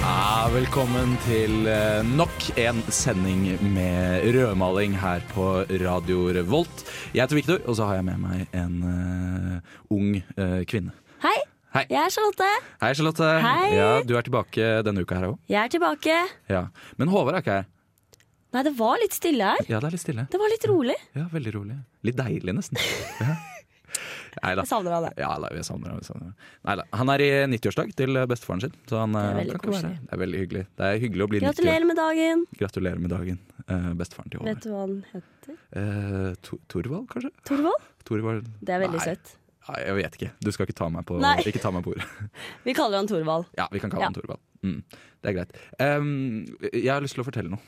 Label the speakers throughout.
Speaker 1: Ja, velkommen til eh, nok en sending med rødmaling her på Radio Revolt. Jeg heter Victor, og så har jeg med meg en eh, ung eh, kvinne.
Speaker 2: Hei,
Speaker 1: Hei.
Speaker 2: jeg er Charlotte.
Speaker 1: Hei, Charlotte.
Speaker 2: Hei.
Speaker 1: Ja, du er tilbake denne uka her òg.
Speaker 2: Jeg er tilbake.
Speaker 1: Ja. Men Håvard er ikke her.
Speaker 2: Nei, det var litt stille her.
Speaker 1: Ja, det er litt stille.
Speaker 2: Det var litt rolig.
Speaker 1: Ja, Veldig rolig. Litt deilig, nesten. Ja. Nei da.
Speaker 2: Jeg savner deg.
Speaker 1: Ja, da, jeg savner ham. jeg savner ham. Nei da. Han er i 90-årsdag til bestefaren sin. Så han, eh,
Speaker 2: Det er veldig
Speaker 1: kan ikke være
Speaker 2: koselig.
Speaker 1: her. Det er veldig hyggelig. Det er hyggelig å bli 90 år.
Speaker 2: Gratulerer med dagen.
Speaker 1: Gratulerer med dagen, eh, bestefaren til Håvard.
Speaker 2: Vet du hva han heter?
Speaker 1: Eh, Tor- Torvald, kanskje?
Speaker 2: Torvald?
Speaker 1: Torvald.
Speaker 2: Det er veldig
Speaker 1: Nei.
Speaker 2: søtt.
Speaker 1: Nei, jeg vet ikke. Du skal ikke ta meg på,
Speaker 2: Nei.
Speaker 1: ikke ta meg på ordet.
Speaker 2: Vi kaller han Torvald.
Speaker 1: Ja, vi kan kalle
Speaker 2: Ja.
Speaker 1: han Torvald. Mm, det er greit. Um, jeg har lyst til å fortelle noe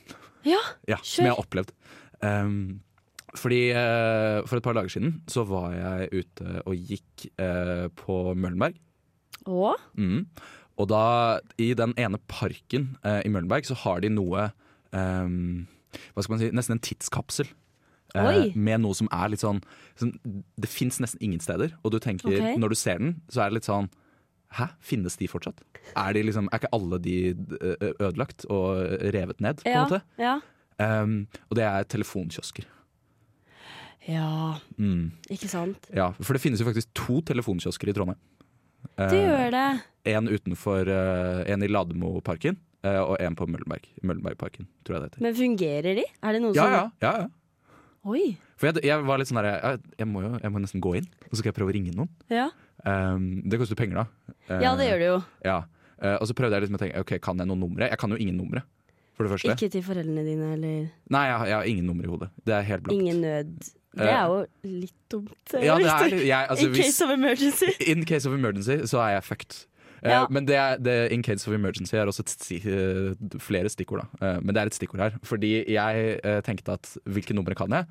Speaker 2: Ja.
Speaker 1: ja, som
Speaker 2: Kjør.
Speaker 1: jeg har opplevd. Um, fordi eh, For et par dager siden så var jeg ute og gikk eh, på Møllenberg.
Speaker 2: Og
Speaker 1: Mm. Og da, i den ene parken eh, i Møllenberg, så har de noe ehm, Hva skal man si? Nesten en tidskapsel. eh,
Speaker 2: Oi.
Speaker 1: med noe som er litt sånn som, Det fins nesten ingen steder. Og du tenker,
Speaker 2: Ok.
Speaker 1: når du ser den, så er det litt sånn Hæ, finnes de fortsatt? Er, de liksom, er ikke alle de eh, ødelagt og revet ned, på en
Speaker 2: ja.
Speaker 1: måte?
Speaker 2: ja.
Speaker 1: Ehm, og det er telefonkiosker.
Speaker 2: Ja,
Speaker 1: Mm.
Speaker 2: ikke sant.
Speaker 1: Ja, for det finnes jo faktisk to telefonkiosker i Trondheim. Eh.
Speaker 2: Det gjør det.
Speaker 1: En utenfor eh, En i Lademoparken eh, og en på Møllenberg. Møllenbergparken, tror jeg det heter.
Speaker 2: Men fungerer de? Er det noen
Speaker 1: Ja,
Speaker 2: som
Speaker 1: ja, ja, ja.
Speaker 2: Oi.
Speaker 1: For jeg, jeg var litt sånn der jeg, jeg må jo jeg må nesten gå inn, og så skal jeg prøve å ringe noen.
Speaker 2: Ja.
Speaker 1: Um, det koster penger, da.
Speaker 2: ja, det gjør det jo.
Speaker 1: Ja. Eh, og så prøvde jeg liksom å tenke ok, kan jeg noen numre. Jeg kan jo ingen numre, for det første.
Speaker 2: Ikke til foreldrene dine eller
Speaker 1: Nei, jeg, har- jeg har ingen numre i hodet. Det er helt blankt.
Speaker 2: ingen nød.
Speaker 1: Eh,
Speaker 2: Det er jo litt dumt. eh,
Speaker 1: Ja, det er,
Speaker 2: Victor.
Speaker 1: jeg, altså,
Speaker 2: In
Speaker 1: hvis,
Speaker 2: case of emergency.
Speaker 1: in case of emergency, så er jeg fucked. Eh,
Speaker 2: Ja.
Speaker 1: Men det er, det, in case of emergency er også et sti, eh, flere stikkord, da. Eh, men det er et stikkord her. Fordi jeg eh, tenkte at hvilke numre kan jeg?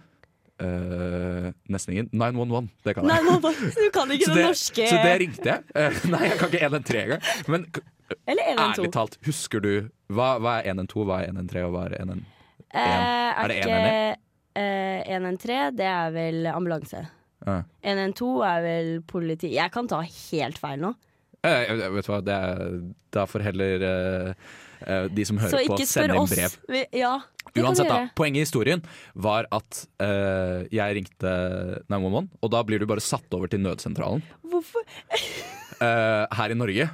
Speaker 1: Eh, nesten ingen. 911, det kan jeg.
Speaker 2: Nei, nå, du kan ikke
Speaker 1: så,
Speaker 2: det
Speaker 1: det,
Speaker 2: norske
Speaker 1: så det ringte jeg. Eh, nei, jeg kan ikke 113 engang. Men k-
Speaker 2: Eller 112.
Speaker 1: ærlig talt, husker du hva, hva er 112, hva er 113 og hva er 112?
Speaker 2: Eh,
Speaker 1: Er det
Speaker 2: er det ikke eh, 113? Det er vel ambulanse.
Speaker 1: Ja.
Speaker 2: 112 er vel politi. Jeg kan ta helt feil nå.
Speaker 1: Eh, jeg- jeg vet du hva, det er, da får heller eh, eh, de som hører
Speaker 2: Så
Speaker 1: på,
Speaker 2: ikke spør
Speaker 1: sende inn
Speaker 2: oss.
Speaker 1: brev.
Speaker 2: Vi, ja, det
Speaker 1: Uansett,
Speaker 2: kan du
Speaker 1: da.
Speaker 2: gjøre.
Speaker 1: Poenget i historien var at eh, jeg ringte 911, og da blir du bare satt over til nødsentralen
Speaker 2: Hvorfor?
Speaker 1: eh, her i Norge.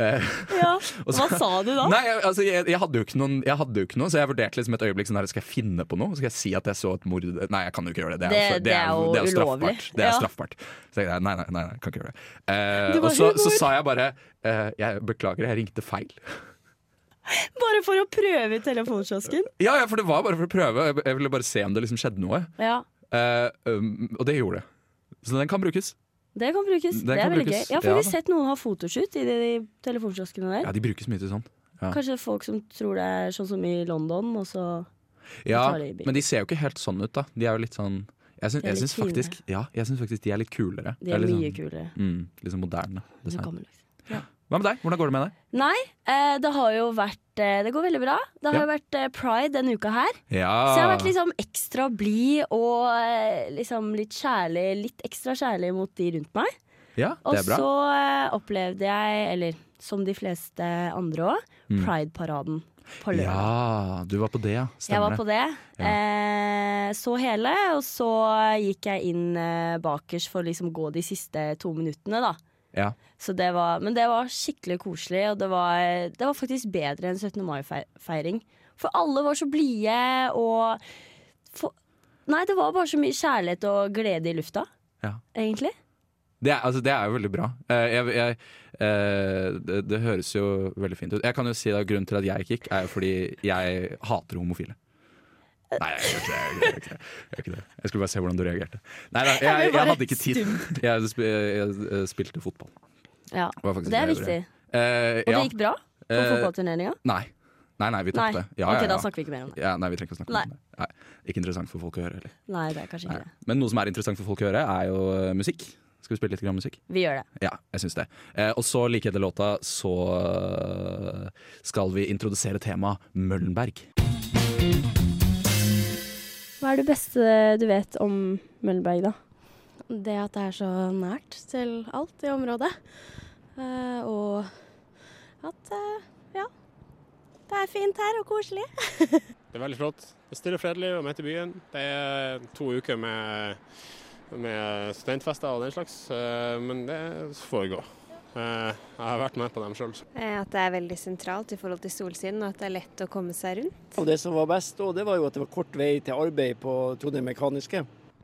Speaker 1: Eh,
Speaker 2: Ja.
Speaker 1: Og
Speaker 2: Hva
Speaker 1: så-
Speaker 2: sa du da?
Speaker 1: Nei, jeg, altså, jeg, jeg, hadde jo ikke noen, jeg hadde jo ikke noe, så jeg vurderte liksom et øyeblikk sånn her, skal jeg finne på noe? Skal jeg si at jeg så et mord Nei, jeg kan jo ikke gjøre det. Det er,
Speaker 2: Det- det er jo ulovlig.
Speaker 1: straffbart. Det er
Speaker 2: Ja.
Speaker 1: straffbart. Så jeg, nei, nei, nei, nei, kan ikke gjøre det. Eh,
Speaker 2: Du
Speaker 1: og
Speaker 2: bare,
Speaker 1: så, så
Speaker 2: humor.
Speaker 1: sa jeg bare eh, Jeg beklager, jeg ringte feil.
Speaker 2: Bare for å prøve i telefonkiosken?
Speaker 1: Ja, ja, for det var bare for å prøve. Jeg, jeg ville bare se om det liksom skjedde noe.
Speaker 2: Ja.
Speaker 1: Eh, um, og det gjorde det. Så den kan brukes.
Speaker 2: Det kan brukes.
Speaker 1: Den
Speaker 2: det
Speaker 1: kan
Speaker 2: er veldig
Speaker 1: brukes.
Speaker 2: gøy. Jeg har
Speaker 1: Ja,
Speaker 2: faktisk
Speaker 1: da.
Speaker 2: sett noen ha fotoshoot i de, de telefonkioskene der.
Speaker 1: Ja, de brukes mye til sånn. ja.
Speaker 2: Kanskje folk som tror det er sånn som i London, og så
Speaker 1: Ja,
Speaker 2: tar det i bil.
Speaker 1: men de ser jo ikke helt sånn ut, da. De er jo litt sånn Jeg syns,
Speaker 2: De er
Speaker 1: jeg
Speaker 2: litt
Speaker 1: syns faktisk, ja, jeg syns faktisk de er litt kulere.
Speaker 2: De er
Speaker 1: litt
Speaker 2: mye
Speaker 1: sånn-
Speaker 2: kulere.
Speaker 1: Mm, litt sånn moderne
Speaker 2: Så
Speaker 1: design.
Speaker 2: gammel, liksom.
Speaker 1: Hva med deg? Hvordan går det med deg?
Speaker 2: Nei, eh, det har jo vært eh, Det går veldig bra. Det har
Speaker 1: Ja. Ah.
Speaker 2: jo vært eh, pride denne uka her.
Speaker 1: Ja.
Speaker 2: Så jeg har vært liksom ekstra blid og eh, liksom litt kjærlig, litt ekstra kjærlig mot de rundt meg.
Speaker 1: ja,
Speaker 2: Og
Speaker 1: det er bra.
Speaker 2: så eh, opplevde jeg, eller som de fleste andre òg, Pride-paraden på
Speaker 1: Mm.
Speaker 2: lørdag.
Speaker 1: Ja, du var på det, ja. Stemmer
Speaker 2: jeg var på det.
Speaker 1: Ja.
Speaker 2: Eh, så hele, og så gikk jeg inn eh, bakers for å liksom gå de siste to minuttene, da.
Speaker 1: det. Ja.
Speaker 2: Så det var, men det var skikkelig koselig, og det var, det var faktisk bedre enn 17. mai-feiring. For alle var så blide, og for, Nei, det var bare så mye kjærlighet og glede i lufta,
Speaker 1: Ja.
Speaker 2: egentlig.
Speaker 1: Det, er, altså, det er jo veldig bra. Eh, jeg, jeg, eh, det, det høres jo veldig fint ut. Jeg kan jo si at Grunnen til at jeg ikke gikk, er jo fordi jeg hater homofile. Nei, jeg gjør ikke det. Jeg, gjør ikke det, jeg, gjør ikke det. jeg skulle bare se hvordan du reagerte. Nei, nei, jeg, jeg,
Speaker 2: ble bare
Speaker 1: hadde ikke tid. Jeg, sp- jeg, jeg spilte fotball.
Speaker 2: Ja,
Speaker 1: var faktisk
Speaker 2: Det er
Speaker 1: det jeg gjorde.
Speaker 2: viktig.
Speaker 1: Eh,
Speaker 2: Og
Speaker 1: ja.
Speaker 2: det gikk bra på
Speaker 1: Eh,
Speaker 2: fotballturneringa.
Speaker 1: Nei. Nei, nei, vi
Speaker 2: Nei.
Speaker 1: tapte. Ja,
Speaker 2: ok,
Speaker 1: ja,
Speaker 2: da
Speaker 1: ja.
Speaker 2: snakker vi ikke mer om det.
Speaker 1: Ja, nei, vi trenger ikke å snakke
Speaker 2: Nei.
Speaker 1: om det. Nei, ikke interessant for folk å høre heller.
Speaker 2: Nei, det er kanskje ikke
Speaker 1: Nei.
Speaker 2: det.
Speaker 1: Men noe som er interessant for folk å høre, er jo eh, musikk. Skal vi spille litt grann musikk?
Speaker 2: Vi gjør det.
Speaker 1: Ja, jeg syns det. Eh, og så, like etter låta, så eh, skal vi introdusere temaet Møllenberg.
Speaker 3: Hva er det beste du vet om Møllenberg, da?
Speaker 4: Det at det er så nært til alt i området. Eh, og at eh, ja. Det er fint her og koselig.
Speaker 5: Det er veldig flott. Det er stille og fredelig og midt i byen. Det er to uker med, med studentfester og den slags, eh, men det får gå. Eh, Jeg har vært med på dem sjøl.
Speaker 6: Eh, At det er veldig sentralt i forhold til solsiden, og at det er lett å komme seg rundt.
Speaker 7: Og det som var best da, det var jo at det var kort vei til arbeid på Trondheim Mekaniske.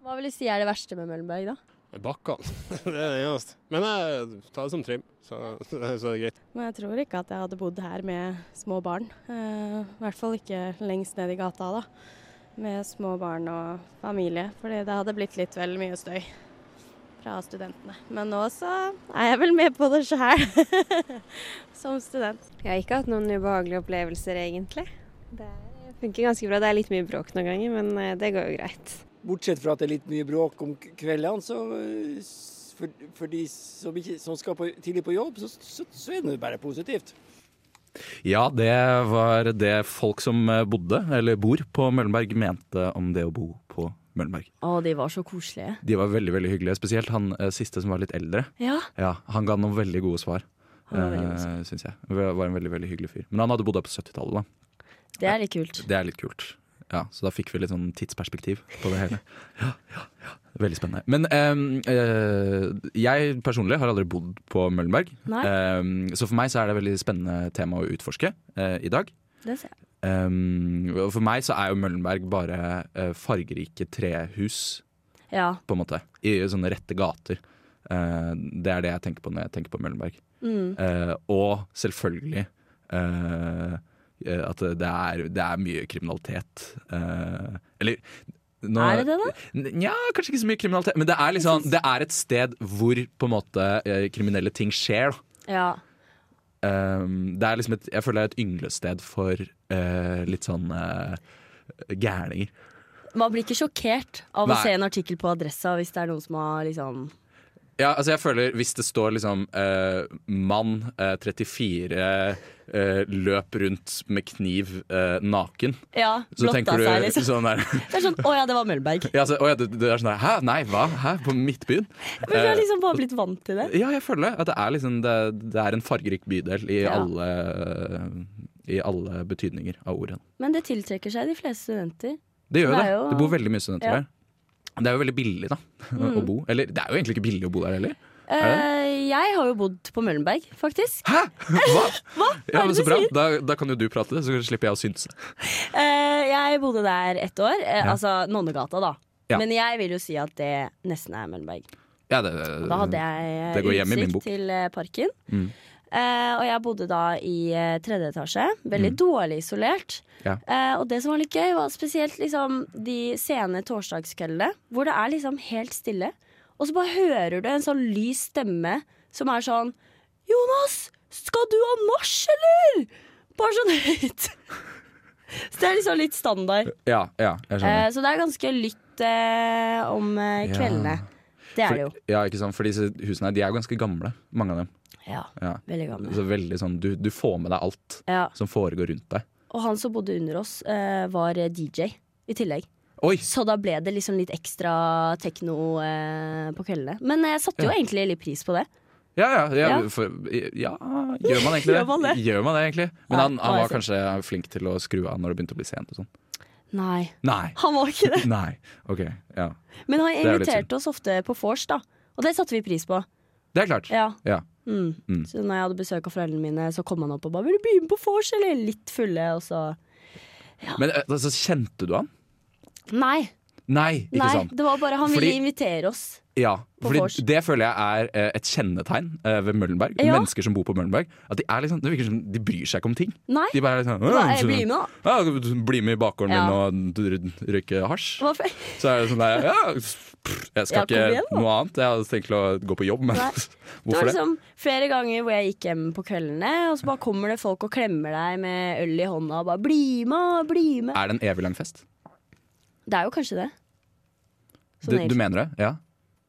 Speaker 3: Hva vil du si er det verste med Møllenberg, da?
Speaker 5: Bakkene. Det er det eneste. Men jeg tar det som trim, så, så er det greit.
Speaker 4: Men jeg tror ikke at jeg hadde bodd her med små barn. Eh, I hvert fall ikke lengst ned i gata da. Med små barn og familie. Fordi det hadde blitt litt vel mye støy fra studentene. Men nå så er jeg vel med på det sjæl. Som student.
Speaker 6: Jeg har ikke hatt noen ubehagelige opplevelser, egentlig. Det er- funker ganske bra. Det er litt mye bråk noen ganger, men eh, det går jo greit.
Speaker 7: Bortsett fra at det er litt mye bråk om k- kveldene, så eh, s- for, for de som, ikke, som skal på, tidlig på jobb, så, så, så er det jo bare positivt.
Speaker 1: Ja, det var det folk som eh, bodde, eller bor, på Møllenberg mente om det å bo på Møllenberg.
Speaker 2: Å, de var så koselige.
Speaker 1: De var veldig veldig hyggelige, spesielt han eh, siste som var litt eldre.
Speaker 2: Ja.
Speaker 1: Ja, Han ga noen veldig gode svar,
Speaker 2: Han var veldig god. altså.
Speaker 1: eh, syns jeg. Det Var en veldig, veldig hyggelig fyr. Men han hadde bodd her på 70-tallet, da.
Speaker 2: Det er litt kult.
Speaker 1: Det er litt kult. Ja, Så da fikk vi litt sånn tidsperspektiv på det hele. Ja, ja, ja. Veldig spennende. Men ehm, eh, jeg personlig har aldri bodd på Møllenberg.
Speaker 2: Nei.
Speaker 1: Ehm, så for meg så er det et veldig spennende tema å utforske eh, i dag.
Speaker 2: Det ser jeg.
Speaker 1: Ehm, og for meg så er jo Møllenberg bare eh, fargerike trehus,
Speaker 2: Ja.
Speaker 1: på en måte. I sånne rette gater. Eh, det er det jeg tenker på når jeg tenker på Møllenberg.
Speaker 2: Mm.
Speaker 1: Eh, og selvfølgelig eh, eh, at det er, det er mye kriminalitet. Eh, eller nå,
Speaker 2: Er det det, da?
Speaker 1: Nja, kanskje ikke så mye kriminalitet. Men det er, liksom, det er et sted hvor på en måte eh, kriminelle ting skjer. da.
Speaker 2: Ja.
Speaker 1: Eh, det er liksom et, jeg føler det er et ynglested for eh, litt sånn uh, gærninger.
Speaker 2: Man blir ikke sjokkert av
Speaker 1: Nei.
Speaker 2: å se en artikkel på Adressa hvis det er noen som har liksom
Speaker 1: Ja, altså jeg føler Hvis det står liksom eh, 'mann eh, 34 eh, løp rundt med kniv eh, naken',
Speaker 2: Ja,
Speaker 1: så
Speaker 2: blotta
Speaker 1: tenker du
Speaker 2: seg, liksom.
Speaker 1: sånn der
Speaker 2: Det er sånn Å ja, det var Møllenberg.
Speaker 1: Ja, så, å ja, det, det er sånn der, Hæ? Nei, hva? Hæ? På Midtbyen?
Speaker 2: Men
Speaker 1: Eh.
Speaker 2: du har liksom bare blitt vant til det.
Speaker 1: Ja, jeg føler at det er, liksom, det, det er en fargerik bydel i,
Speaker 2: Ja.
Speaker 1: alle, i alle betydninger av ordene.
Speaker 2: Men det tiltrekker seg de fleste studenter.
Speaker 1: Det gjør
Speaker 2: Det
Speaker 1: det.
Speaker 2: er
Speaker 1: Det,
Speaker 2: jo-
Speaker 1: bor veldig mye studenter
Speaker 2: Ja. Mm.
Speaker 1: her. Det er jo veldig billig da, å bo. Eller det er jo egentlig ikke billig å bo der heller.
Speaker 2: Eh, jeg har jo bodd på Møllenberg, faktisk.
Speaker 1: Hæ? Hva? Ja,
Speaker 2: er
Speaker 1: men
Speaker 2: det
Speaker 1: Så
Speaker 2: du
Speaker 1: bra. Da, da kan jo du prate, så slipper jeg å synse.
Speaker 2: Eh, jeg bodde der ett år. eh,
Speaker 1: Ja.
Speaker 2: Altså Nonnegata, da.
Speaker 1: Ja.
Speaker 2: Men jeg vil jo si at det nesten er Møllenberg.
Speaker 1: Ja, det,
Speaker 2: Og da hadde jeg eh,
Speaker 1: Det går hjem i min bok.
Speaker 2: utsikt til eh, parken.
Speaker 1: Mm.
Speaker 2: Eh, og jeg bodde da i eh, tredje etasje. Veldig dårlig isolert.
Speaker 1: Mm. Ja.
Speaker 2: Eh, og det som var litt gøy, var spesielt liksom, de sene torsdagskveldene hvor det er liksom helt stille. Og så bare hører du en sånn lys stemme som er sånn Jonas, skal du ha nach, eller? Bare sånn høyt. så det er liksom litt standard.
Speaker 1: ja, ja, jeg skjønner.
Speaker 2: Eh, så det er ganske lytt eh, om eh,
Speaker 1: Ja.
Speaker 2: kveldene. Det er det jo.
Speaker 1: For, ja, ikke sant? For disse husene her, de er jo ganske gamle, mange av dem.
Speaker 2: Ja,
Speaker 1: Ja.
Speaker 2: veldig gammel.
Speaker 1: Så veldig sånn, du, du får med deg alt
Speaker 2: Ja.
Speaker 1: som foregår rundt deg.
Speaker 2: Og han som bodde under oss, eh, var DJ i tillegg.
Speaker 1: Oi!
Speaker 2: Så da ble det liksom litt ekstra tekno eh, på kveldene. Men jeg satte jo
Speaker 1: Ja.
Speaker 2: egentlig litt pris på det.
Speaker 1: Ja, ja, ja,
Speaker 2: Ja.
Speaker 1: For, ja gjør man egentlig det?
Speaker 2: Gjør man det?
Speaker 1: Gjør man det egentlig? Men
Speaker 2: Nei,
Speaker 1: han, han
Speaker 2: nå
Speaker 1: var
Speaker 2: er jeg
Speaker 1: kanskje flink til å skru av når det begynte å bli sent og sånn.
Speaker 2: Nei,
Speaker 1: Nei!
Speaker 2: han var ikke det.
Speaker 1: Nei. OK. Ja.
Speaker 2: Men han
Speaker 1: Det er jo litt
Speaker 2: inviterte oss ofte på vors, da. Og det satte vi pris på.
Speaker 1: Det er klart.
Speaker 2: Ja.
Speaker 1: Ja.
Speaker 2: Mm.
Speaker 1: Mm.
Speaker 2: Så når jeg hadde besøk av foreldrene mine, så kom han opp og bare 'Vil du bli med på vors?' Eller litt fulle, og så
Speaker 1: Men eh, altså, kjente du han?
Speaker 2: Nei.
Speaker 1: Nei, ikke
Speaker 2: nei
Speaker 1: sant?
Speaker 2: Det var bare han ville
Speaker 1: Fordi-
Speaker 2: invitere oss.
Speaker 1: Ja,
Speaker 2: På vors.
Speaker 1: fordi Det føler jeg er eh, et kjennetegn eh, ved Møllenberg.
Speaker 2: Ja.
Speaker 1: Mennesker som bor på Møllenberg. At de, er liksom, det virker som de bryr seg ikke om ting.
Speaker 2: Nei.
Speaker 1: De bare er litt sånn
Speaker 2: Da,
Speaker 1: «Åh,
Speaker 2: jeg
Speaker 1: så-
Speaker 2: blir med, da.
Speaker 1: Ja, bli med i bakgården
Speaker 2: Ja.
Speaker 1: min og d- røyke hasj.
Speaker 2: Det var fe-
Speaker 1: Så er det sånn der ja, pff, jeg skal
Speaker 2: Ja, kom igjen,
Speaker 1: ikke noe annet. Jeg hadde tenkt til å gå på jobb, men
Speaker 2: Nei. Det var
Speaker 1: hvorfor det?
Speaker 2: liksom flere ganger hvor jeg gikk hjem på kveldene, og så bare kommer det folk og klemmer deg med øl i hånda og bare 'bli med, bli med'.
Speaker 1: Er det en evig lang fest?
Speaker 2: Det er jo kanskje det. Sånn
Speaker 1: Du, du
Speaker 2: egentlig.
Speaker 1: mener det? Ja.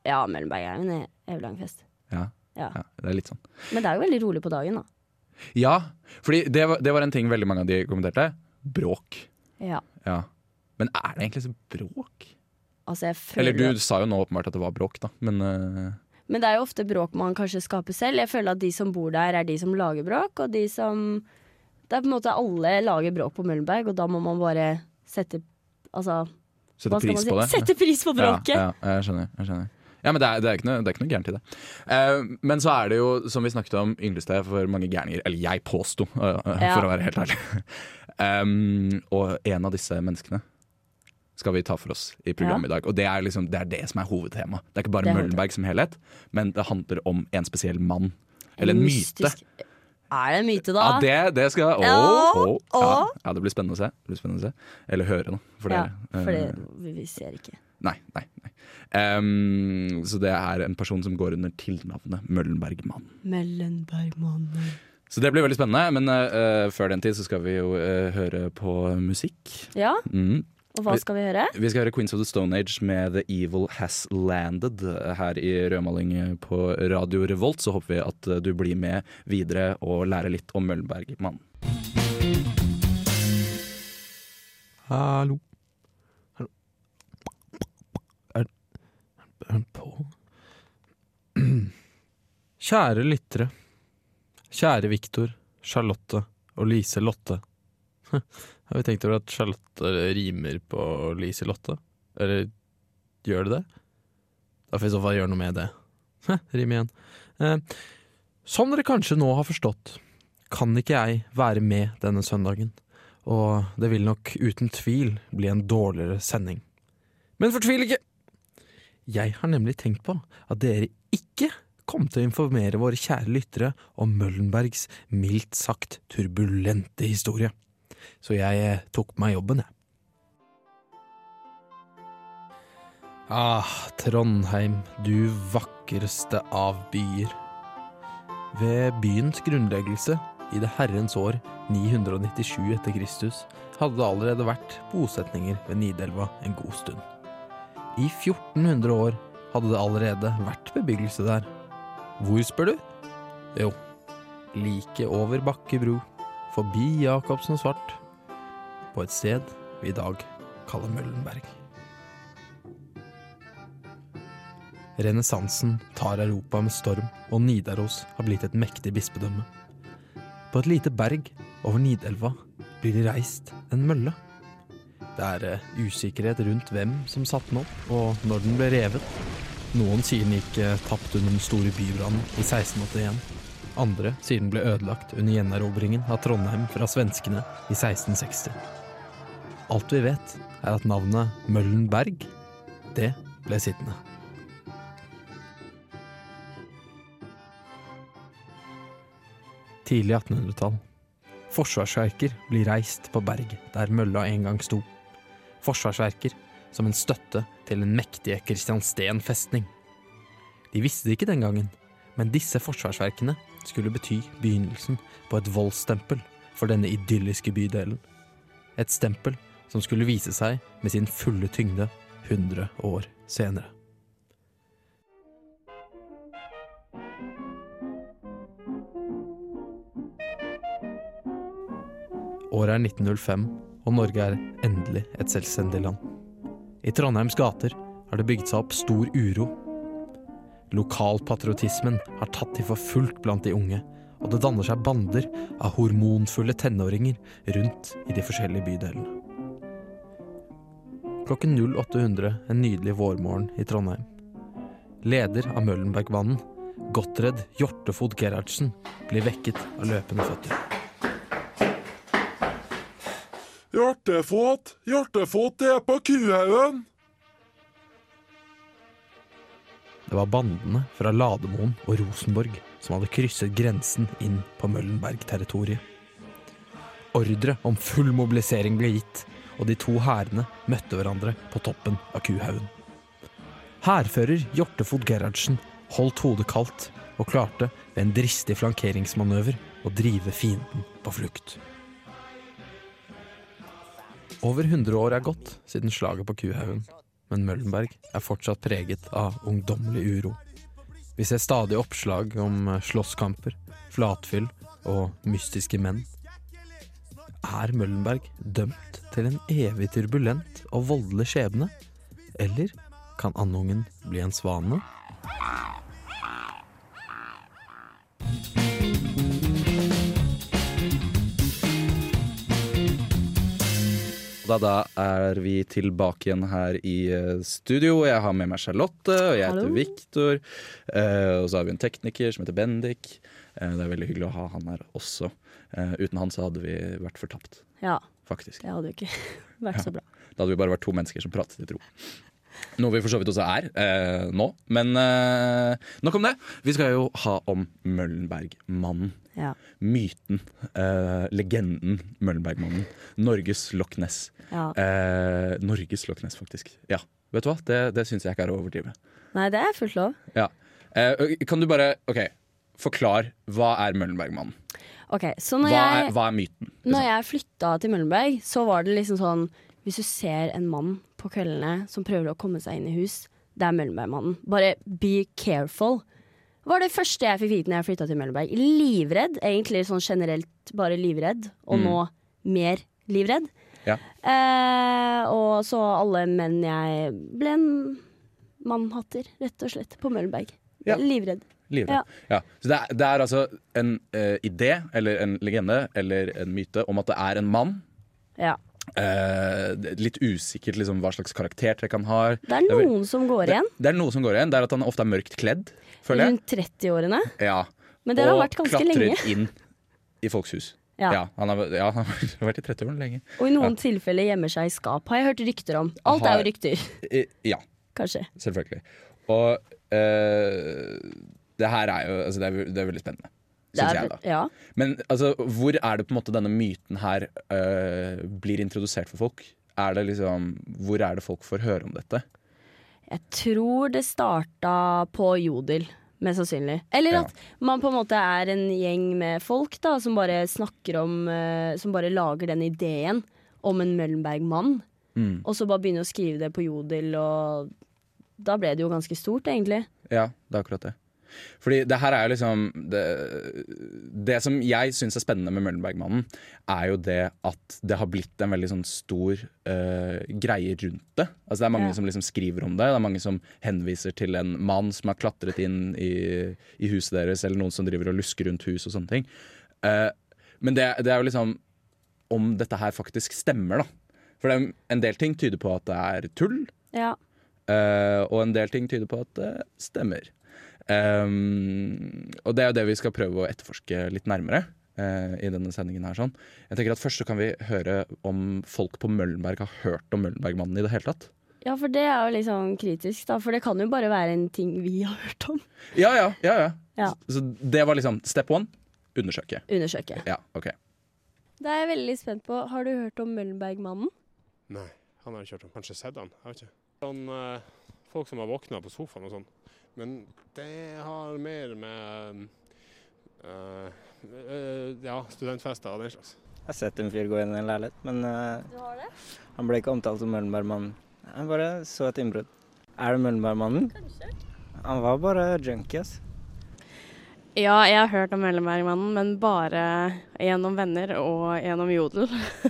Speaker 2: Ja, Møllenberg er jo en e- evig lang fest.
Speaker 1: Ja.
Speaker 2: Ja.
Speaker 1: ja. Det er litt sånn.
Speaker 2: Men det er jo veldig rolig på dagen, da.
Speaker 1: Ja, fordi det var, det var en ting veldig mange av de kommenterte. Bråk.
Speaker 2: Ja.
Speaker 1: Ja. Men er det egentlig så bråk?
Speaker 2: Altså, jeg føler
Speaker 1: Eller du sa jo nå åpenbart at det var bråk, da. Men eh,
Speaker 2: Men det er jo ofte bråk man kanskje skaper selv. Jeg føler at de som bor der, er de som lager bråk, og de som Det er på en måte alle lager bråk på Møllenberg, og da må man bare sette Altså,
Speaker 1: sette
Speaker 2: hva skal man
Speaker 1: pris
Speaker 2: si?
Speaker 1: på det.
Speaker 2: Sette pris på bråket!
Speaker 1: Ja, ja, jeg skjønner. Jeg skjønner. Ja, men det er, det, er ikke noe, det er ikke noe gærent i det. Eh, men så er det jo, som vi snakket om, Ynglestad for mange gærninger. Eller jeg påsto, eh, eh,
Speaker 2: Ja.
Speaker 1: for å være helt ærlig. Em, og en av disse menneskene skal vi ta for oss i programmet i dag. Og det er, liksom, det er det som er hovedtema. Det er ikke bare
Speaker 2: Det er
Speaker 1: Møllenberg som helhet, men det handler om en spesiell mann. Eller en myte.
Speaker 2: Mystisk. Er det en myte, da?
Speaker 1: Ja, det, det skal Å!
Speaker 2: Ja,
Speaker 1: å, ja.
Speaker 2: å.
Speaker 1: ja, det blir spennende å se. Det blir spennende å se. Eller høre, da. For
Speaker 2: Ja,
Speaker 1: dere.
Speaker 2: for
Speaker 1: Eh,
Speaker 2: det, vi, vi ser ikke.
Speaker 1: Nei, nei, nei. Ehm, så det er en person som går under tilnavnet Møllenbergmann.
Speaker 2: Mellenbergmannen.
Speaker 1: Så det blir veldig spennende, men eh, eh, før den tid så skal vi jo eh, høre på musikk.
Speaker 2: Ja,
Speaker 1: Mm.
Speaker 2: og hva skal vi høre?
Speaker 1: Vi skal høre Queens of the Stone Age med The Evil Has Landed her i Rødmaling på Radio Revolt. Så håper vi at eh, du blir med videre og lærer litt om Møllenbergmannen.
Speaker 8: Hallo. Hallo. Er, er den på? Kjære lyttere. Kjære Viktor, Charlotte og Lise Lotte. Har vi tenkt over at Charlotte rimer på Lise Lotte? Eller gjør det det? Da får vi i så fall gjøre noe med det. Rim igjen. Eh, som dere kanskje nå har forstått, kan ikke jeg være med denne søndagen og det vil nok uten tvil bli en dårligere sending. Men fortvil ikke! Jeg har nemlig tenkt på at dere ikke kom til å informere våre kjære lyttere om Møllenbergs mildt sagt turbulente historie. Så jeg eh, tok på meg jobben, jeg. Ah, Trondheim, du vakreste av byer. Ved byens grunnleggelse i det herrens år 997 etter Kristus hadde det allerede vært bosetninger ved Nidelva en god stund. I 1400 år hadde det allerede vært bebyggelse der. Hvor, spør du? Jo, like over Bakke bro, forbi Jacobsen Svart, på et sted vi i dag kaller Møllenberg. Renessansen tar Europa med storm, og Nidaros har blitt et mektig bispedømme. På et lite berg over Nidelva blir det reist en mølle. Det er eh, usikkerhet rundt hvem som satte den opp, og når den ble revet. Noen sier den gikk eh, tapt under den store bybrannen i 1681. Andre sier den ble ødelagt under gjenerobringen av Trondheim fra svenskene i 1660. Alt vi vet, er at navnet Møllenberg, det ble sittende. Tidlig 1800-tall. Forsvarsverker blir reist på berg der mølla en gang sto. Forsvarsverker som en støtte til den mektige Kristiansten festning. De visste det ikke den gangen, men disse forsvarsverkene skulle bety begynnelsen på et voldsstempel for denne idylliske bydelen. Et stempel som skulle vise seg med sin fulle tyngde 100 år senere. Året er 1905, og Norge er endelig et selvstendig land. I Trondheims gater har det bygd seg opp stor uro. Lokalpatriotismen har tatt til for fullt blant de unge, og det danner seg bander av hormonfulle tenåringer rundt i de forskjellige bydelene. Klokken 0800 en nydelig vårmorgen i Trondheim. Leder av Møllenbergbanen, Gottred Hjortefod Gerhardsen, blir vekket av løpende føtter.
Speaker 9: Hjertefot, hjertefot er på kuhaugen.
Speaker 8: Det var bandene fra Lademoen og Rosenborg som hadde krysset grensen inn på Møllenberg-territoriet. Ordre om full mobilisering ble gitt, og de to hærene møtte hverandre på toppen av Kuhaugen. Hærfører Hjortefot Gerhardsen holdt hodet kaldt og klarte ved en dristig flankeringsmanøver å drive fienden på flukt. Over 100 år er gått siden slaget på Kuhaugen, men Møllenberg er fortsatt preget av ungdommelig uro. Vi ser stadig oppslag om eh, slåsskamper, flatfyll og mystiske menn. Er Møllenberg dømt til en evig turbulent og voldelig skjebne? Eller kan andungen bli en svane?
Speaker 1: Da, da er vi tilbake igjen her i eh, studio. Jeg har med meg Charlotte, og jeg heter
Speaker 3: Hallo.
Speaker 1: Viktor. og så har vi en tekniker som heter Bendik. Eh, det er veldig hyggelig å ha han her også. Eh, uten han så hadde vi vært fortapt,
Speaker 2: Ja,
Speaker 1: faktisk.
Speaker 2: det hadde jo ikke vært så bra.
Speaker 1: Da hadde vi bare vært to mennesker som pratet i tro. Noe vi for så vidt også er eh, nå. Men eh, nok om det. Vi skal jo ha om Møllenbergmannen.
Speaker 2: Ja,
Speaker 1: Myten. Eh, legenden Møllenbergmannen. Norges Loch Ness.
Speaker 2: ja.
Speaker 1: Eh, Norges Loch Ness, faktisk. Ja, vet du hva? Det, det syns jeg ikke er å overdrive.
Speaker 2: Nei, det er fullt lov.
Speaker 1: Eh, kan du bare OK, forklar. Hva er Møllenbergmannen?
Speaker 2: Ok, så når
Speaker 1: Hva
Speaker 2: jeg...
Speaker 1: er, hva er myten?
Speaker 2: Når jeg flytta til Møllenberg, så var det liksom sånn Hvis du ser en mann på kveldene som prøver å komme seg inn i hus, det er Møllenbergmannen. Bare be careful. var det første jeg fikk vite når jeg flytta til Møllenberg. Livredd. Egentlig sånn generelt bare livredd, og
Speaker 1: Mm.
Speaker 2: nå mer livredd.
Speaker 1: Ja.
Speaker 2: Eh, og så alle menn jeg ble en mannhatter, rett og slett, på Møllenberg.
Speaker 1: Ja.
Speaker 2: Livredd.
Speaker 1: Livredd. Ja. Så det er, det er altså en eh, idé, eller en legende, eller en myte om at det er en mann.
Speaker 2: Ja.
Speaker 1: Eh, det er litt usikkert liksom, hva slags karaktertrekk han har.
Speaker 2: Det er
Speaker 1: Det er vel-
Speaker 2: noen som går
Speaker 1: Det,
Speaker 2: igjen.
Speaker 1: det er noe som går igjen. Det er at han ofte er mørkt kledd, føler jeg.
Speaker 2: Rundt 30-årene.
Speaker 1: Ja.
Speaker 2: Men Mm. det har
Speaker 1: og
Speaker 2: vært ganske
Speaker 1: klatrer
Speaker 2: lenge.
Speaker 1: inn i folks hus.
Speaker 2: Ja.
Speaker 1: Ja, han har, ja, han har vært i 30-årene lenge.
Speaker 2: Og i noen tilfeller gjemmer seg i skap, har jeg hørt rykter om. Alt er
Speaker 1: Har-
Speaker 2: jo rykter,
Speaker 1: Eh, Ja,
Speaker 2: kanskje.
Speaker 1: selvfølgelig. Og eh, det her er jo altså, det, er, ve- det er veldig spennende.
Speaker 2: Det
Speaker 1: Syns
Speaker 2: er-
Speaker 1: jeg, da.
Speaker 2: Ja.
Speaker 1: Men altså, hvor er det på en måte denne myten her eh, blir introdusert for folk? Er det liksom, hvor er det folk får høre om dette?
Speaker 2: Jeg tror det starta på Jodel, mest sannsynlig. Eller
Speaker 1: Ja.
Speaker 2: at man på en måte er en gjeng med folk da, som bare snakker om eh, Som bare lager den ideen om en Møllenberg-mann,
Speaker 1: Mm.
Speaker 2: og så bare begynner å skrive det på Jodel, og da ble det jo ganske stort, egentlig.
Speaker 1: Ja, det er akkurat det. Fordi det her er jo liksom Det, det som jeg syns er spennende med Møllenbergmannen, er jo det at det har blitt en veldig sånn stor eh, greie rundt det. Altså Det er mange
Speaker 2: Ja.
Speaker 1: som liksom skriver om det. Det er mange som henviser til en mann som har klatret inn i, i huset deres, eller noen som driver og lusker rundt hus og sånne ting. Eh, men det, det er jo liksom om dette her faktisk stemmer, da. For det er, en del ting tyder på at det er tull.
Speaker 2: Ja.
Speaker 1: Eh, og en del ting tyder på at det stemmer. Ehm, og det er jo det vi skal prøve å etterforske litt nærmere. eh, I denne sendingen her sånn. Jeg tenker at Først så kan vi høre om folk på Møllenberg har hørt om Møllenbergmannen i det hele tatt.
Speaker 2: ja, for det er jo liksom kritisk, da. For det kan jo bare være en ting vi har hørt om.
Speaker 1: Ja, ja, ja, ja.
Speaker 2: Ja.
Speaker 1: Så det var liksom step one. Undersøke.
Speaker 2: Undersøke.
Speaker 1: Ja, ok
Speaker 3: Da er jeg veldig spent på Har du hørt om Møllenbergmannen?
Speaker 5: Nei, han har jeg kjørt om. Kanskje sett han, jeg vet ikke. Sånn, eh, folk som har våkna på sofaen og sånn. Men det har mer med eh, eh, ja, studentfester og den slags.
Speaker 10: Jeg har sett en fyr gå inn i en leilighet, men eh, han ble ikke omtalt som Møllenbergmannen. Han bare så et innbrudd. Er det Møllenbergmannen? Kanskje. Han var bare junkie, ass.
Speaker 4: Ja, jeg har hørt om Møllenbergmannen, men bare gjennom venner og gjennom Jodel.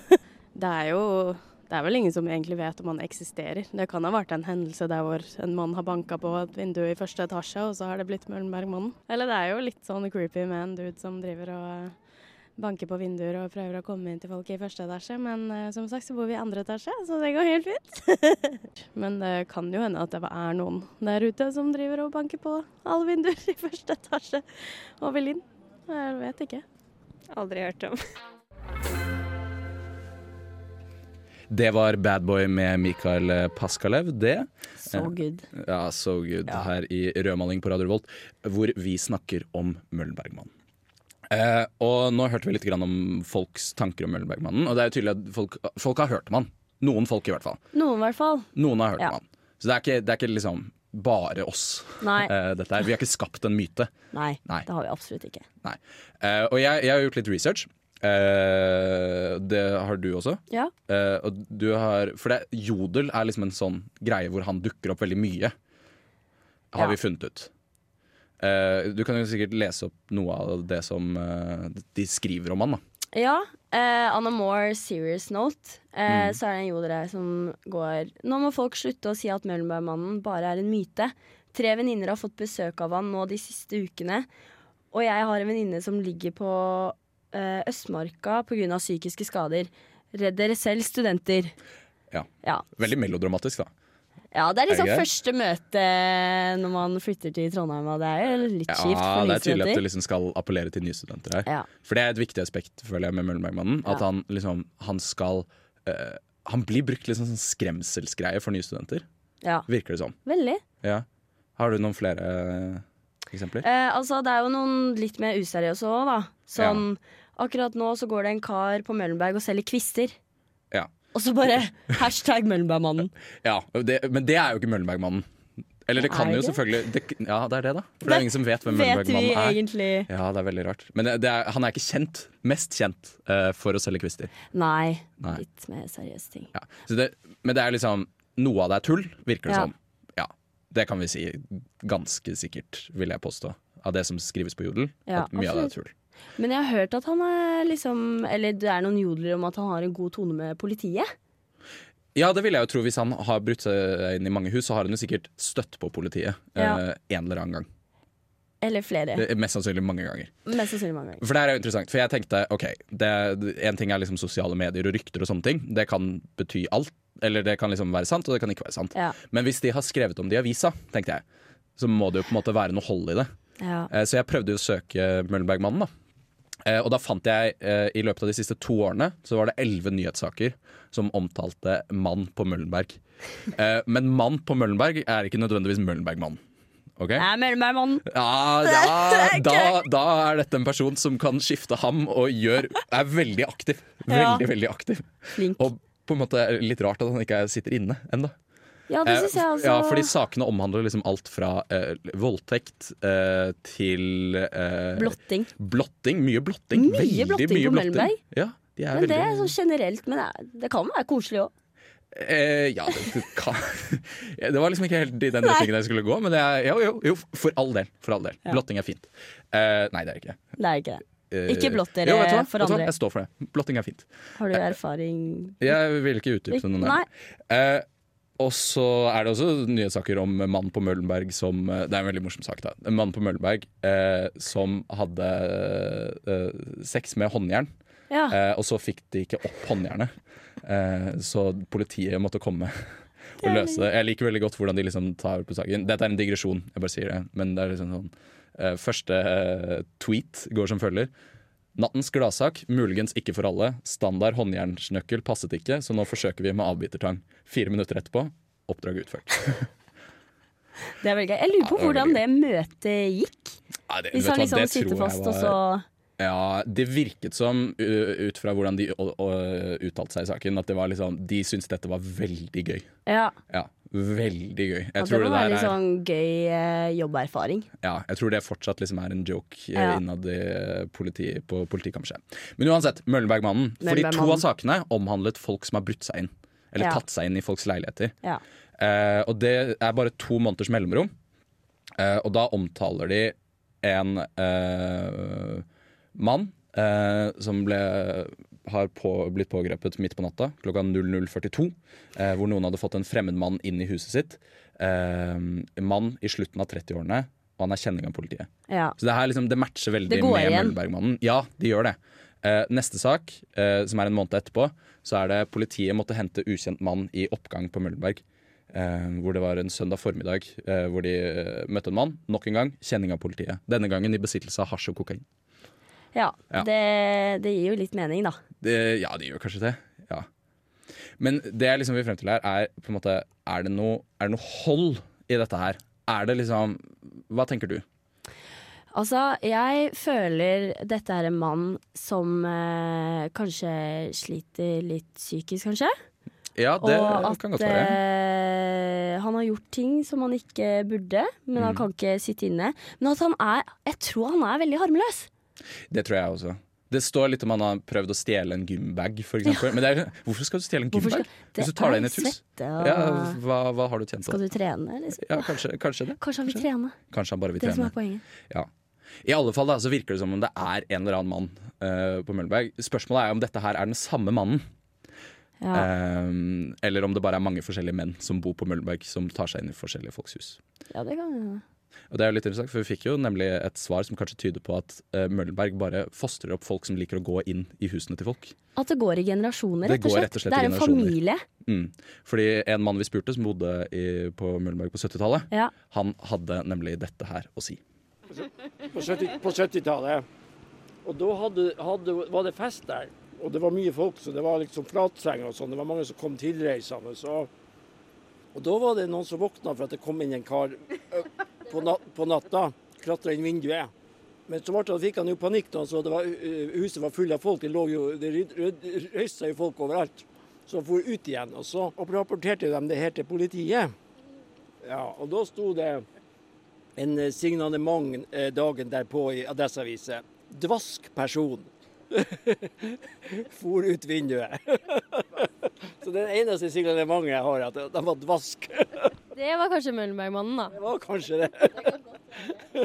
Speaker 4: det er jo Det er vel ingen som egentlig vet om han eksisterer. Det kan ha vært en hendelse der hvor en mann har banka på et vindu i første etasje, og så har det blitt Møllenbergmannen. Eller det er jo litt sånn creepy med en dude som driver og eh, banker på vinduer og prøver å komme inn til folk i første etasje, men eh, som sagt så bor vi i andre etasje, så det går helt fint. men det kan jo hende at det er noen der ute som driver og banker på alle vinduer i første etasje og vil inn. Jeg vet ikke.
Speaker 6: Aldri hørt om.
Speaker 1: Det var Badboy med Mikael eh, Paskalev, det.
Speaker 2: So good.
Speaker 1: Ja, so good.
Speaker 2: Ja.
Speaker 1: Her i Rødmaling på Radio Revolt, hvor vi snakker om Møllenbergmannen. Eh, og nå hørte vi litt grann om folks tanker om Møllenbergmannen. Og det er jo tydelig at folk, folk har hørt om han. Noen folk, i hvert fall.
Speaker 2: Noen, i hvert fall.
Speaker 1: Noen har hørt
Speaker 2: Ja.
Speaker 1: om han. Så det er ikke, det er ikke liksom bare oss.
Speaker 2: Nei.
Speaker 1: Eh, dette her. Vi har ikke skapt en myte.
Speaker 2: Nei,
Speaker 1: Nei.
Speaker 2: det har vi absolutt ikke.
Speaker 1: Nei. Eh, og jeg, jeg har gjort litt research. Eh, det har du også.
Speaker 2: Ja.
Speaker 1: Eh, og du har, for det, jodel er liksom en sånn greie hvor han dukker opp veldig mye. Har vi funnet ut. Eh, du kan jo sikkert lese opp noe av det som eh, de skriver om han. da
Speaker 2: Ja. eh, on a more serious note, eh,
Speaker 1: Mm.
Speaker 2: så er det en jodel her som går Nå må folk slutte å si at Møllenbergmannen bare er en myte. Tre venninner har fått besøk av han nå de siste ukene. Og jeg har en venninne som ligger på eh, Østmarka pga. psykiske skader. Redd dere selv, studenter.
Speaker 1: Ja.
Speaker 2: Ja.
Speaker 1: Veldig melodramatisk, da.
Speaker 2: Ja, Det er
Speaker 1: Er
Speaker 2: liksom
Speaker 1: det greit?
Speaker 2: første møte når man flytter til Trondheim, og det er jo litt kjipt
Speaker 1: Ja,
Speaker 2: for
Speaker 1: det
Speaker 2: nye
Speaker 1: er tydelig at
Speaker 2: studenter.
Speaker 1: du liksom skal appellere til nye studenter her.
Speaker 2: Ja.
Speaker 1: For det er et viktig aspekt føler jeg med Møllenbergmannen. At
Speaker 2: Ja.
Speaker 1: han liksom han skal eh, Han blir brukt liksom som skremselsgreie for nye studenter.
Speaker 2: Ja.
Speaker 1: Virker det som.
Speaker 2: Veldig.
Speaker 1: Ja. Har du noen flere eh, eksempler?
Speaker 2: Eh, altså, det er jo noen litt mer useriøse òg, da. Sånn akkurat nå så går det en kar på Møllenberg og selger kvister.
Speaker 1: Ja.
Speaker 2: Og så bare hashtag Møllenbergmannen.
Speaker 1: ja det, men det er jo ikke Møllenbergmannen. Eller det kan
Speaker 2: Er
Speaker 1: jo
Speaker 2: det?
Speaker 1: selvfølgelig det, Ja, det er det, da. For det er ingen som vet hvem
Speaker 2: Vet vi
Speaker 1: Møllenbergmannen er.
Speaker 2: egentlig
Speaker 1: Ja, det er veldig rart. Men det, det er, han er ikke kjent, mest kjent, eh, for å selge kvister.
Speaker 2: Nei,
Speaker 1: Nei.
Speaker 2: litt mer seriøse ting.
Speaker 1: Ja. Så det, men det er liksom Noe av det er tull, virker det
Speaker 2: Ja.
Speaker 1: som. Ja, det kan vi si ganske sikkert, vil jeg påstå. Av det som skrives på Jodel.
Speaker 2: Ja,
Speaker 1: at mye av det er
Speaker 2: absolutt.
Speaker 1: tull.
Speaker 2: Men jeg har hørt at han er liksom Eller det er noen jodler om at han har en god tone med politiet.
Speaker 1: Ja, det vil jeg jo tro. Hvis han har brutt seg inn i mange hus, så har han jo sikkert støtt på politiet eh,
Speaker 2: Ja.
Speaker 1: en eller annen gang.
Speaker 2: Eller flere.
Speaker 1: Det er Mest sannsynlig mange ganger.
Speaker 2: Mest sannsynlig mange ganger.
Speaker 1: For det her er jo interessant, for jeg tenkte ok, det, en ting er liksom sosiale medier og rykter og sånne ting. Det kan bety alt, eller det kan liksom være sant, og det kan ikke være sant.
Speaker 2: Ja.
Speaker 1: Men hvis de har skrevet om det i avisa, tenkte jeg, så må det jo på en måte være noe hold i det.
Speaker 2: Ja.
Speaker 1: Eh, Så jeg prøvde jo å søke Møllenbergmannen, da. Eh, Og da fant jeg, eh, i løpet av de siste to årene, så var det elleve nyhetssaker som omtalte mann på Møllenberg. Eh, Men mann på Møllenberg er ikke nødvendigvis Møllenbergmannen. Ok?
Speaker 2: Nei, Møllenbergmannen.
Speaker 1: Ja, da, da, da er dette en person som kan skifte ham og gjør, er veldig aktiv.
Speaker 2: Ja.
Speaker 1: Veldig, veldig aktiv.
Speaker 2: Flink.
Speaker 1: Og på en måte er det litt rart at han ikke er- sitter inne ennå.
Speaker 2: Ja, det syns jeg altså.
Speaker 1: Ja, fordi sakene omhandler liksom alt fra eh, voldtekt eh, til eh,
Speaker 2: Blotting.
Speaker 1: Blotting, Mye blotting.
Speaker 2: Mye
Speaker 1: veldig
Speaker 2: blotting på
Speaker 1: mye blotting.
Speaker 2: Møllenberg.
Speaker 1: Ja, de er
Speaker 2: Men det er
Speaker 1: veldig,
Speaker 2: sånn generelt. Men det, er- det kan være koselig òg.
Speaker 1: Eh, ja, det, det, kan, det var liksom ikke helt i den retningen jeg skulle gå, men det er, jo, jo, jo, for all del. For all del.
Speaker 2: Ja.
Speaker 1: Blotting er fint. Eh, nei, det er det ikke.
Speaker 2: Det er ikke det.
Speaker 1: Eh,
Speaker 2: Ikke blott dere
Speaker 1: jo, vet du hva?
Speaker 2: for
Speaker 1: Vet du hva?
Speaker 2: andre.
Speaker 1: Jeg står for det. Blotting er fint.
Speaker 2: Har du erfaring
Speaker 1: Jeg vil ikke utdype det noe
Speaker 2: Nei.
Speaker 1: nærmere. Eh, og så er det også nyhetssaker om mannen på Møllenberg som eh, Det er en veldig morsom sak, da. En mann på Møllenberg eh, som hadde eh, sex med håndjern.
Speaker 2: Ja.
Speaker 1: Eh, og så fikk de ikke opp håndjernet, eh, så politiet måtte komme. Og løse det. Jeg liker veldig godt hvordan de liksom tar på saken. Dette er en digresjon, jeg bare sier det. Men det er liksom sånn eh, Første eh, tweet går som følger. Nattens gladsak, muligens ikke for alle. Standard håndjernsnøkkel passet ikke, så nå forsøker vi med avbitertang. Fire minutter etterpå, oppdrag utført.
Speaker 2: Det er veldig gøy. Jeg lurer
Speaker 1: Ja, det
Speaker 2: på
Speaker 1: er
Speaker 2: hvordan det møtet gikk.
Speaker 1: Ja, det- vet
Speaker 2: Hvis
Speaker 1: du
Speaker 2: han
Speaker 1: hva,
Speaker 2: liksom
Speaker 1: det tror
Speaker 2: sitter
Speaker 1: jeg
Speaker 2: fast,
Speaker 1: var-
Speaker 2: og så
Speaker 1: Ja, det virket som, u- ut fra hvordan de å- å- uttalte seg i saken, at det var liksom De syntes dette var veldig gøy.
Speaker 2: Ja.
Speaker 1: Ja, veldig gøy. Jeg
Speaker 2: ja det
Speaker 1: tror
Speaker 2: må
Speaker 1: det der
Speaker 2: være litt
Speaker 1: er
Speaker 2: sånn gøy eh, jobberfaring.
Speaker 1: Ja, jeg tror det fortsatt liksom er en joke eh,
Speaker 2: Ja.
Speaker 1: innad i eh, politi, på politikammerset. Men uansett, Møllenbergmannen. Fordi to
Speaker 2: Møllenbergmannen.
Speaker 1: av sakene omhandlet folk som har brutt seg inn. Eller
Speaker 2: Ja.
Speaker 1: tatt seg inn i folks leiligheter.
Speaker 2: Ja.
Speaker 1: Eh, og det er bare to måneders mellomrom. Eh, og da omtaler de en eh, mann eh, som ble, har på, blitt pågrepet midt på natta klokka 00.42. Eh, hvor noen hadde fått en fremmed mann inn i huset sitt. Eh, en mann i slutten av 30-årene, og han er kjenning av politiet.
Speaker 2: Ja.
Speaker 1: Så det her liksom, det matcher veldig
Speaker 2: Det går
Speaker 1: med
Speaker 2: igjen.
Speaker 1: Møllenbergmannen. Ja, de gjør det. Eh, neste sak, eh, som er en måned etterpå, så er det politiet måtte hente ukjent mann i oppgang på Møllenberg. Eh, hvor det var en søndag formiddag eh, hvor de eh, møtte en mann. Nok en gang kjenning av politiet. Denne gangen i besittelse av hasj og kokain.
Speaker 2: Ja,
Speaker 1: Ja.
Speaker 2: Det, det gir jo litt mening, da.
Speaker 1: Det, ja, de gjør kanskje det. Ja. Men det jeg liksom vil frem til her, er på en måte Er det noe, er det noe hold i dette her? Er det liksom Hva tenker du?
Speaker 2: Altså, jeg føler dette er en mann som eh, kanskje sliter litt psykisk, kanskje.
Speaker 1: Ja, det
Speaker 2: og at
Speaker 1: kan godt være.
Speaker 2: eh, han har gjort ting som han ikke burde, men han
Speaker 1: Mm.
Speaker 2: kan ikke sitte inne. Men at han er Jeg tror han er veldig harmløs.
Speaker 1: Det tror jeg også. Det står litt om han har prøvd å stjele en gymbag, for eksempel. Men det er, hvorfor skal du stjele en
Speaker 2: Hvorfor
Speaker 1: gymbag? Hvis
Speaker 2: skal- det
Speaker 1: du tar
Speaker 2: er
Speaker 1: deg inn i et hus.
Speaker 2: svette og-
Speaker 1: Ja, hva, hva har du tjent på?
Speaker 2: Skal du trene, liksom?
Speaker 1: Ja, kanskje, kanskje det.
Speaker 2: Kanskje han vil trene.
Speaker 1: Kanskje han bare vil
Speaker 2: Det som
Speaker 1: trene.
Speaker 2: er poenget.
Speaker 1: Ja. I alle fall da, så virker det som om det er en eller annen mann eh, på Møllenberg. Spørsmålet er om dette her er den samme mannen.
Speaker 2: Ja.
Speaker 1: Eh, eller om det bare er mange forskjellige menn som bor på Møllenberg, som tar seg inn i forskjellige folks hus.
Speaker 2: ja, det kan hende.
Speaker 1: Og det er jo litt interessant, for Vi fikk jo nemlig et svar som kanskje tyder på at eh, Møllenberg bare fostrer opp folk som liker å gå inn i husene til folk.
Speaker 2: At det går i generasjoner,
Speaker 1: Det
Speaker 2: rett og
Speaker 1: går
Speaker 2: slett.
Speaker 1: rett og slett
Speaker 2: det
Speaker 1: i
Speaker 2: er en
Speaker 1: generasjoner.
Speaker 2: familie.
Speaker 1: Mm. Fordi en mann vi spurte, som bodde i, på Møllenberg på 70-tallet,
Speaker 2: Ja.
Speaker 1: han hadde nemlig dette her å si.
Speaker 7: På 70 på 70-tallet. og da hadde, hadde, var det fest der. Og det var mye folk, så det var liksom flatsenger og sånn. Det var mange som kom tilreisende. Så. Og da var det noen som våkna for at det kom inn en kar ø, på, nat på natta. Klatra inn vinduet. Men så ble det- fikk han jo panikk da han så det var, ø, huset var fullt av folk. Det, lå jo, det ryd- ryd- røyste seg jo folk overalt. Så han for ut igjen. Og så rapporterte de det her til politiet. Ja, og da sto det en eh, signalement eh, dagen derpå i Adresseavisen. Dvask person. For ut vinduet. Så det eneste signalementet jeg har, er at de var dvask.
Speaker 4: Det var kanskje Møllenbergmannen, da.
Speaker 7: Det var kanskje det.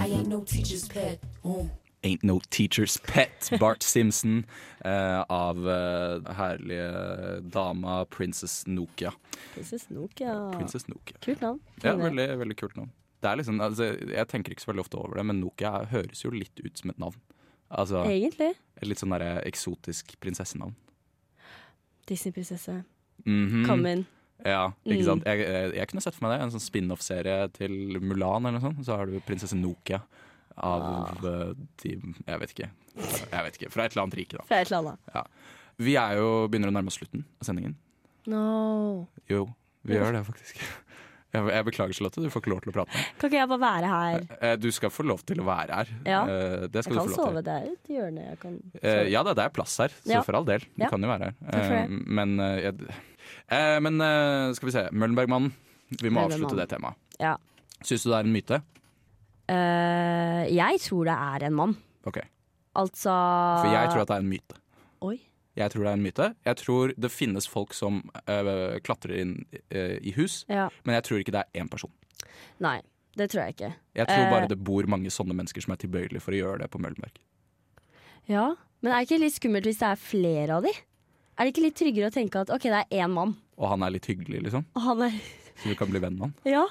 Speaker 11: I ain't no teacher's pet. Mm.
Speaker 1: Ain't No Teacher's Pet, Bart Simpson, eh, av eh, herlige dama Princess Nokia.
Speaker 2: Prinsess Nokia.
Speaker 1: Princess Nokia.
Speaker 2: Kult navn.
Speaker 1: Ja, veldig, veldig kult navn. Det er liksom, altså, jeg tenker ikke så veldig ofte over det, men Nokia høres jo litt ut som et navn. Altså,
Speaker 2: Egentlig.
Speaker 1: et Litt sånn derre eksotisk prinsessenavn.
Speaker 2: Disney-prinsesse.
Speaker 1: Mhm.
Speaker 2: Kom inn.
Speaker 1: Ja, ikke
Speaker 2: Mm.
Speaker 1: sant? Jeg, eh, jeg, jeg kunne sett for meg det. En sånn spin-off-serie til Mulan eller noe sånt. Så har du prinsesse Nokia
Speaker 2: Ah.
Speaker 1: av eh, de Jeg vet ikke. Jeg vet ikke. Fra et eller annet rike, da.
Speaker 2: Fra et eller annet.
Speaker 1: Ja. Vi er jo, begynner å nærme oss slutten av sendingen.
Speaker 2: No.
Speaker 1: Jo, vi gjør det faktisk. Jeg, jeg beklager, Charlotte. Du får ikke lov til å prate.
Speaker 2: Kan ikke jeg bare være her?
Speaker 1: Eh, Du skal få lov til å være her.
Speaker 2: Ja.
Speaker 1: Eh, Det skal du få
Speaker 2: jeg kan
Speaker 1: lov
Speaker 2: sove
Speaker 1: til.
Speaker 2: der i et hjørne. Jeg kan
Speaker 1: Eh, ja da, det er plass her, så
Speaker 2: Ja.
Speaker 1: for all del. Du
Speaker 2: Ja.
Speaker 1: kan jo være her.
Speaker 2: Takk for
Speaker 1: Eh,
Speaker 2: det.
Speaker 1: men eh, jeg, eh, men eh, skal vi se. Møllenbergmannen. Vi må avslutte
Speaker 2: Møllenbergmannen.
Speaker 1: det temaet.
Speaker 2: Ja.
Speaker 1: Syns du det er en myte?
Speaker 2: Eh, jeg tror det er en mann.
Speaker 1: Ok.
Speaker 2: Altså
Speaker 1: For jeg tror at det er en myte.
Speaker 2: Ah, Oi.
Speaker 1: Jeg tror det er en myte. Jeg tror det finnes folk som eh, klatrer inn eh, i hus,
Speaker 2: Ja.
Speaker 1: men jeg tror ikke det er én person.
Speaker 2: Nei, det tror jeg ikke.
Speaker 1: Jeg tror
Speaker 2: Eh,
Speaker 1: bare det bor mange sånne mennesker som er tilbøyelige for å gjøre det på Møllenberg.
Speaker 2: Ja, Men er det ikke litt skummelt hvis det er flere av de? Er det ikke litt tryggere å tenke at OK, det er én mann,
Speaker 1: Og han er litt hyggelig, liksom.
Speaker 2: og han er
Speaker 1: Så du kan bli venn med han.
Speaker 2: Ja.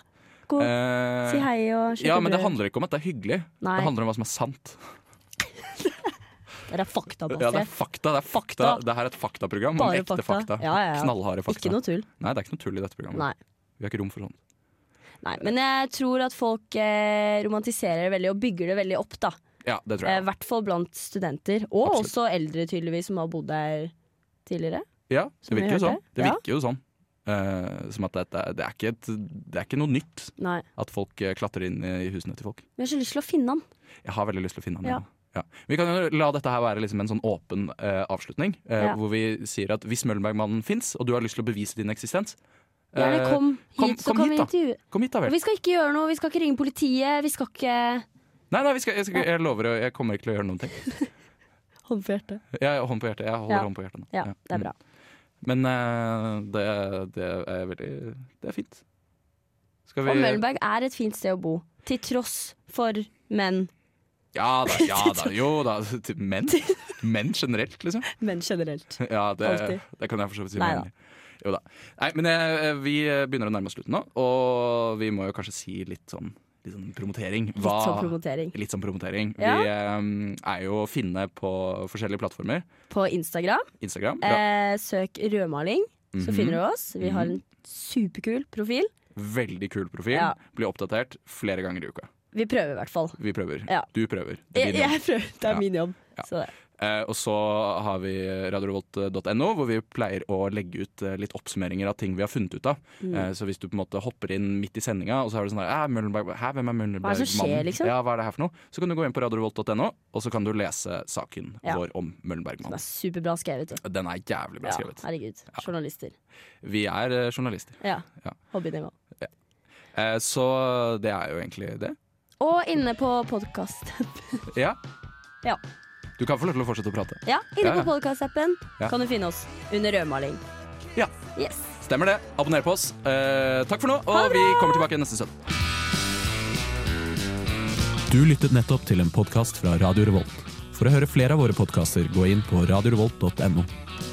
Speaker 2: Gå,
Speaker 1: Eh,
Speaker 2: si hei og kjøpe
Speaker 1: Ja, men det
Speaker 2: brød.
Speaker 1: handler ikke om at det er hyggelig.
Speaker 2: Nei.
Speaker 1: Det handler om hva som er sant.
Speaker 2: Det er altså. faktabasert.
Speaker 1: Ja, det er fakta. Det er fakta. Det her er et faktaprogram
Speaker 2: Bare
Speaker 1: om ekte fakta.
Speaker 2: fakta. Ja, ja, ja.
Speaker 1: Knallharde fakta.
Speaker 2: Ikke noe tull.
Speaker 1: Nei, det er ikke noe tull i dette programmet.
Speaker 2: Nei.
Speaker 1: Vi har ikke rom for sånt.
Speaker 2: Nei, men jeg tror at folk eh, romantiserer det veldig og bygger det veldig opp. da Eh,
Speaker 1: Ja, det tror
Speaker 2: I
Speaker 1: jeg.
Speaker 2: hvert fall blant studenter, og også eldre tydeligvis som har bodd der tidligere.
Speaker 1: Ja, det
Speaker 2: Som vi
Speaker 1: virker jo
Speaker 2: hørte.
Speaker 1: sånn. Det
Speaker 2: Ja.
Speaker 1: virker jo sånn. Eh, som at dette, det, er ikke et, det er ikke noe nytt
Speaker 2: Nei.
Speaker 1: at folk eh, klatrer inn i husene til folk.
Speaker 2: Men jeg har så lyst til å finne han.
Speaker 1: Jeg har veldig lyst til å finne han.
Speaker 2: Ja.
Speaker 1: igjen. Ja. Vi kan jo la dette her være liksom en sånn åpen eh, avslutning, eh,
Speaker 2: Ja.
Speaker 1: hvor vi sier at hvis Møllenbergmannen fins, og du har lyst til å bevise din eksistens
Speaker 2: Gjerne
Speaker 1: eh,
Speaker 2: kom hit, så kan vi intervjue.
Speaker 1: da. Kom hit da
Speaker 2: Og
Speaker 1: vel.
Speaker 2: vi skal ikke gjøre noe, vi skal ikke ringe politiet, vi skal ikke
Speaker 1: Nei, nei, vi skal, jeg, skal, jeg lover, å- jeg kommer ikke til å gjøre noen ting.
Speaker 2: Hånd på hjertet.
Speaker 1: Jeg, hånd på hjertet, jeg holder
Speaker 2: Ja.
Speaker 1: hånd på hjertet nå.
Speaker 2: Ja, det er
Speaker 1: Mm.
Speaker 2: bra.
Speaker 1: Men eh, det, det er veldig Det er fint. Skal
Speaker 2: Og Møllenberg er et fint sted å bo, til tross for menn.
Speaker 1: Ja da, ja da. Jo da. til Menn. Menn generelt, liksom.
Speaker 2: Menn generelt.
Speaker 1: Ja, det,
Speaker 2: Alltid.
Speaker 1: det kan jeg for så vidt si.
Speaker 2: Nei
Speaker 1: men- Jo da. Nei, men eh, vi begynner å nærme oss slutten nå, og vi må jo kanskje si litt sånn, litt sånn promotering.
Speaker 2: Litt sånn promotering.
Speaker 1: Litt sånn promotering.
Speaker 2: Ja.
Speaker 1: Vi eh, er jo å finne på forskjellige plattformer.
Speaker 2: På Instagram.
Speaker 1: Instagram. Bra.
Speaker 2: Eh, søk rødmaling, så
Speaker 1: Mhm.
Speaker 2: finner du oss. Vi har en
Speaker 1: Mhm.
Speaker 2: superkul profil.
Speaker 1: Veldig kul profil.
Speaker 2: Ja.
Speaker 1: Blir oppdatert flere ganger i uka.
Speaker 2: Vi prøver i hvert fall.
Speaker 1: Vi prøver.
Speaker 2: Ja.
Speaker 1: Du prøver. Det er
Speaker 2: Jeg,
Speaker 1: din jobb.
Speaker 2: jeg prøver. Det er
Speaker 1: Ja.
Speaker 2: min jobb. Så det.
Speaker 1: Eh, og så har vi radiorevolt.no, hvor vi pleier å legge ut eh, litt oppsummeringer av ting vi har funnet ut av.
Speaker 2: Mm.
Speaker 1: Eh, så hvis du på en måte hopper inn midt i sendinga, og så er det sånn her, «Æ, Møllenberg, Hæ, hvem er Møllenberg?
Speaker 2: Hva er det som skjer, liksom?
Speaker 1: Ja, hva er det her for noe? Så kan du gå inn på radiorevolt.no, og så kan du lese saken
Speaker 2: Ja.
Speaker 1: vår om
Speaker 2: Den er
Speaker 1: Møllenbergmannen.
Speaker 2: superbra skrevet. du.
Speaker 1: Den er jævlig bra
Speaker 2: Ja,
Speaker 1: skrevet.
Speaker 2: herregud. Journalister.
Speaker 1: Vi er eh, journalister.
Speaker 2: Ja.
Speaker 1: Ja.
Speaker 2: Hobbynivå.
Speaker 1: Eh, så det er jo egentlig det.
Speaker 2: Og inne på podkasten.
Speaker 1: Ja.
Speaker 2: Ja.
Speaker 1: Du kan få lov til å fortsette å prate.
Speaker 2: ja, inne
Speaker 1: Ja, ja.
Speaker 2: på podkastappen
Speaker 1: Ja.
Speaker 2: kan du finne oss under rødmaling.
Speaker 1: Ja.
Speaker 2: Yes.
Speaker 1: Stemmer det. Abonner på oss. Eh, takk for nå, og vi kommer tilbake neste søndag.
Speaker 12: Du lyttet nettopp til en podkast fra Radio Revolt. For å høre flere av våre podkaster, gå inn på radiorevolt.no.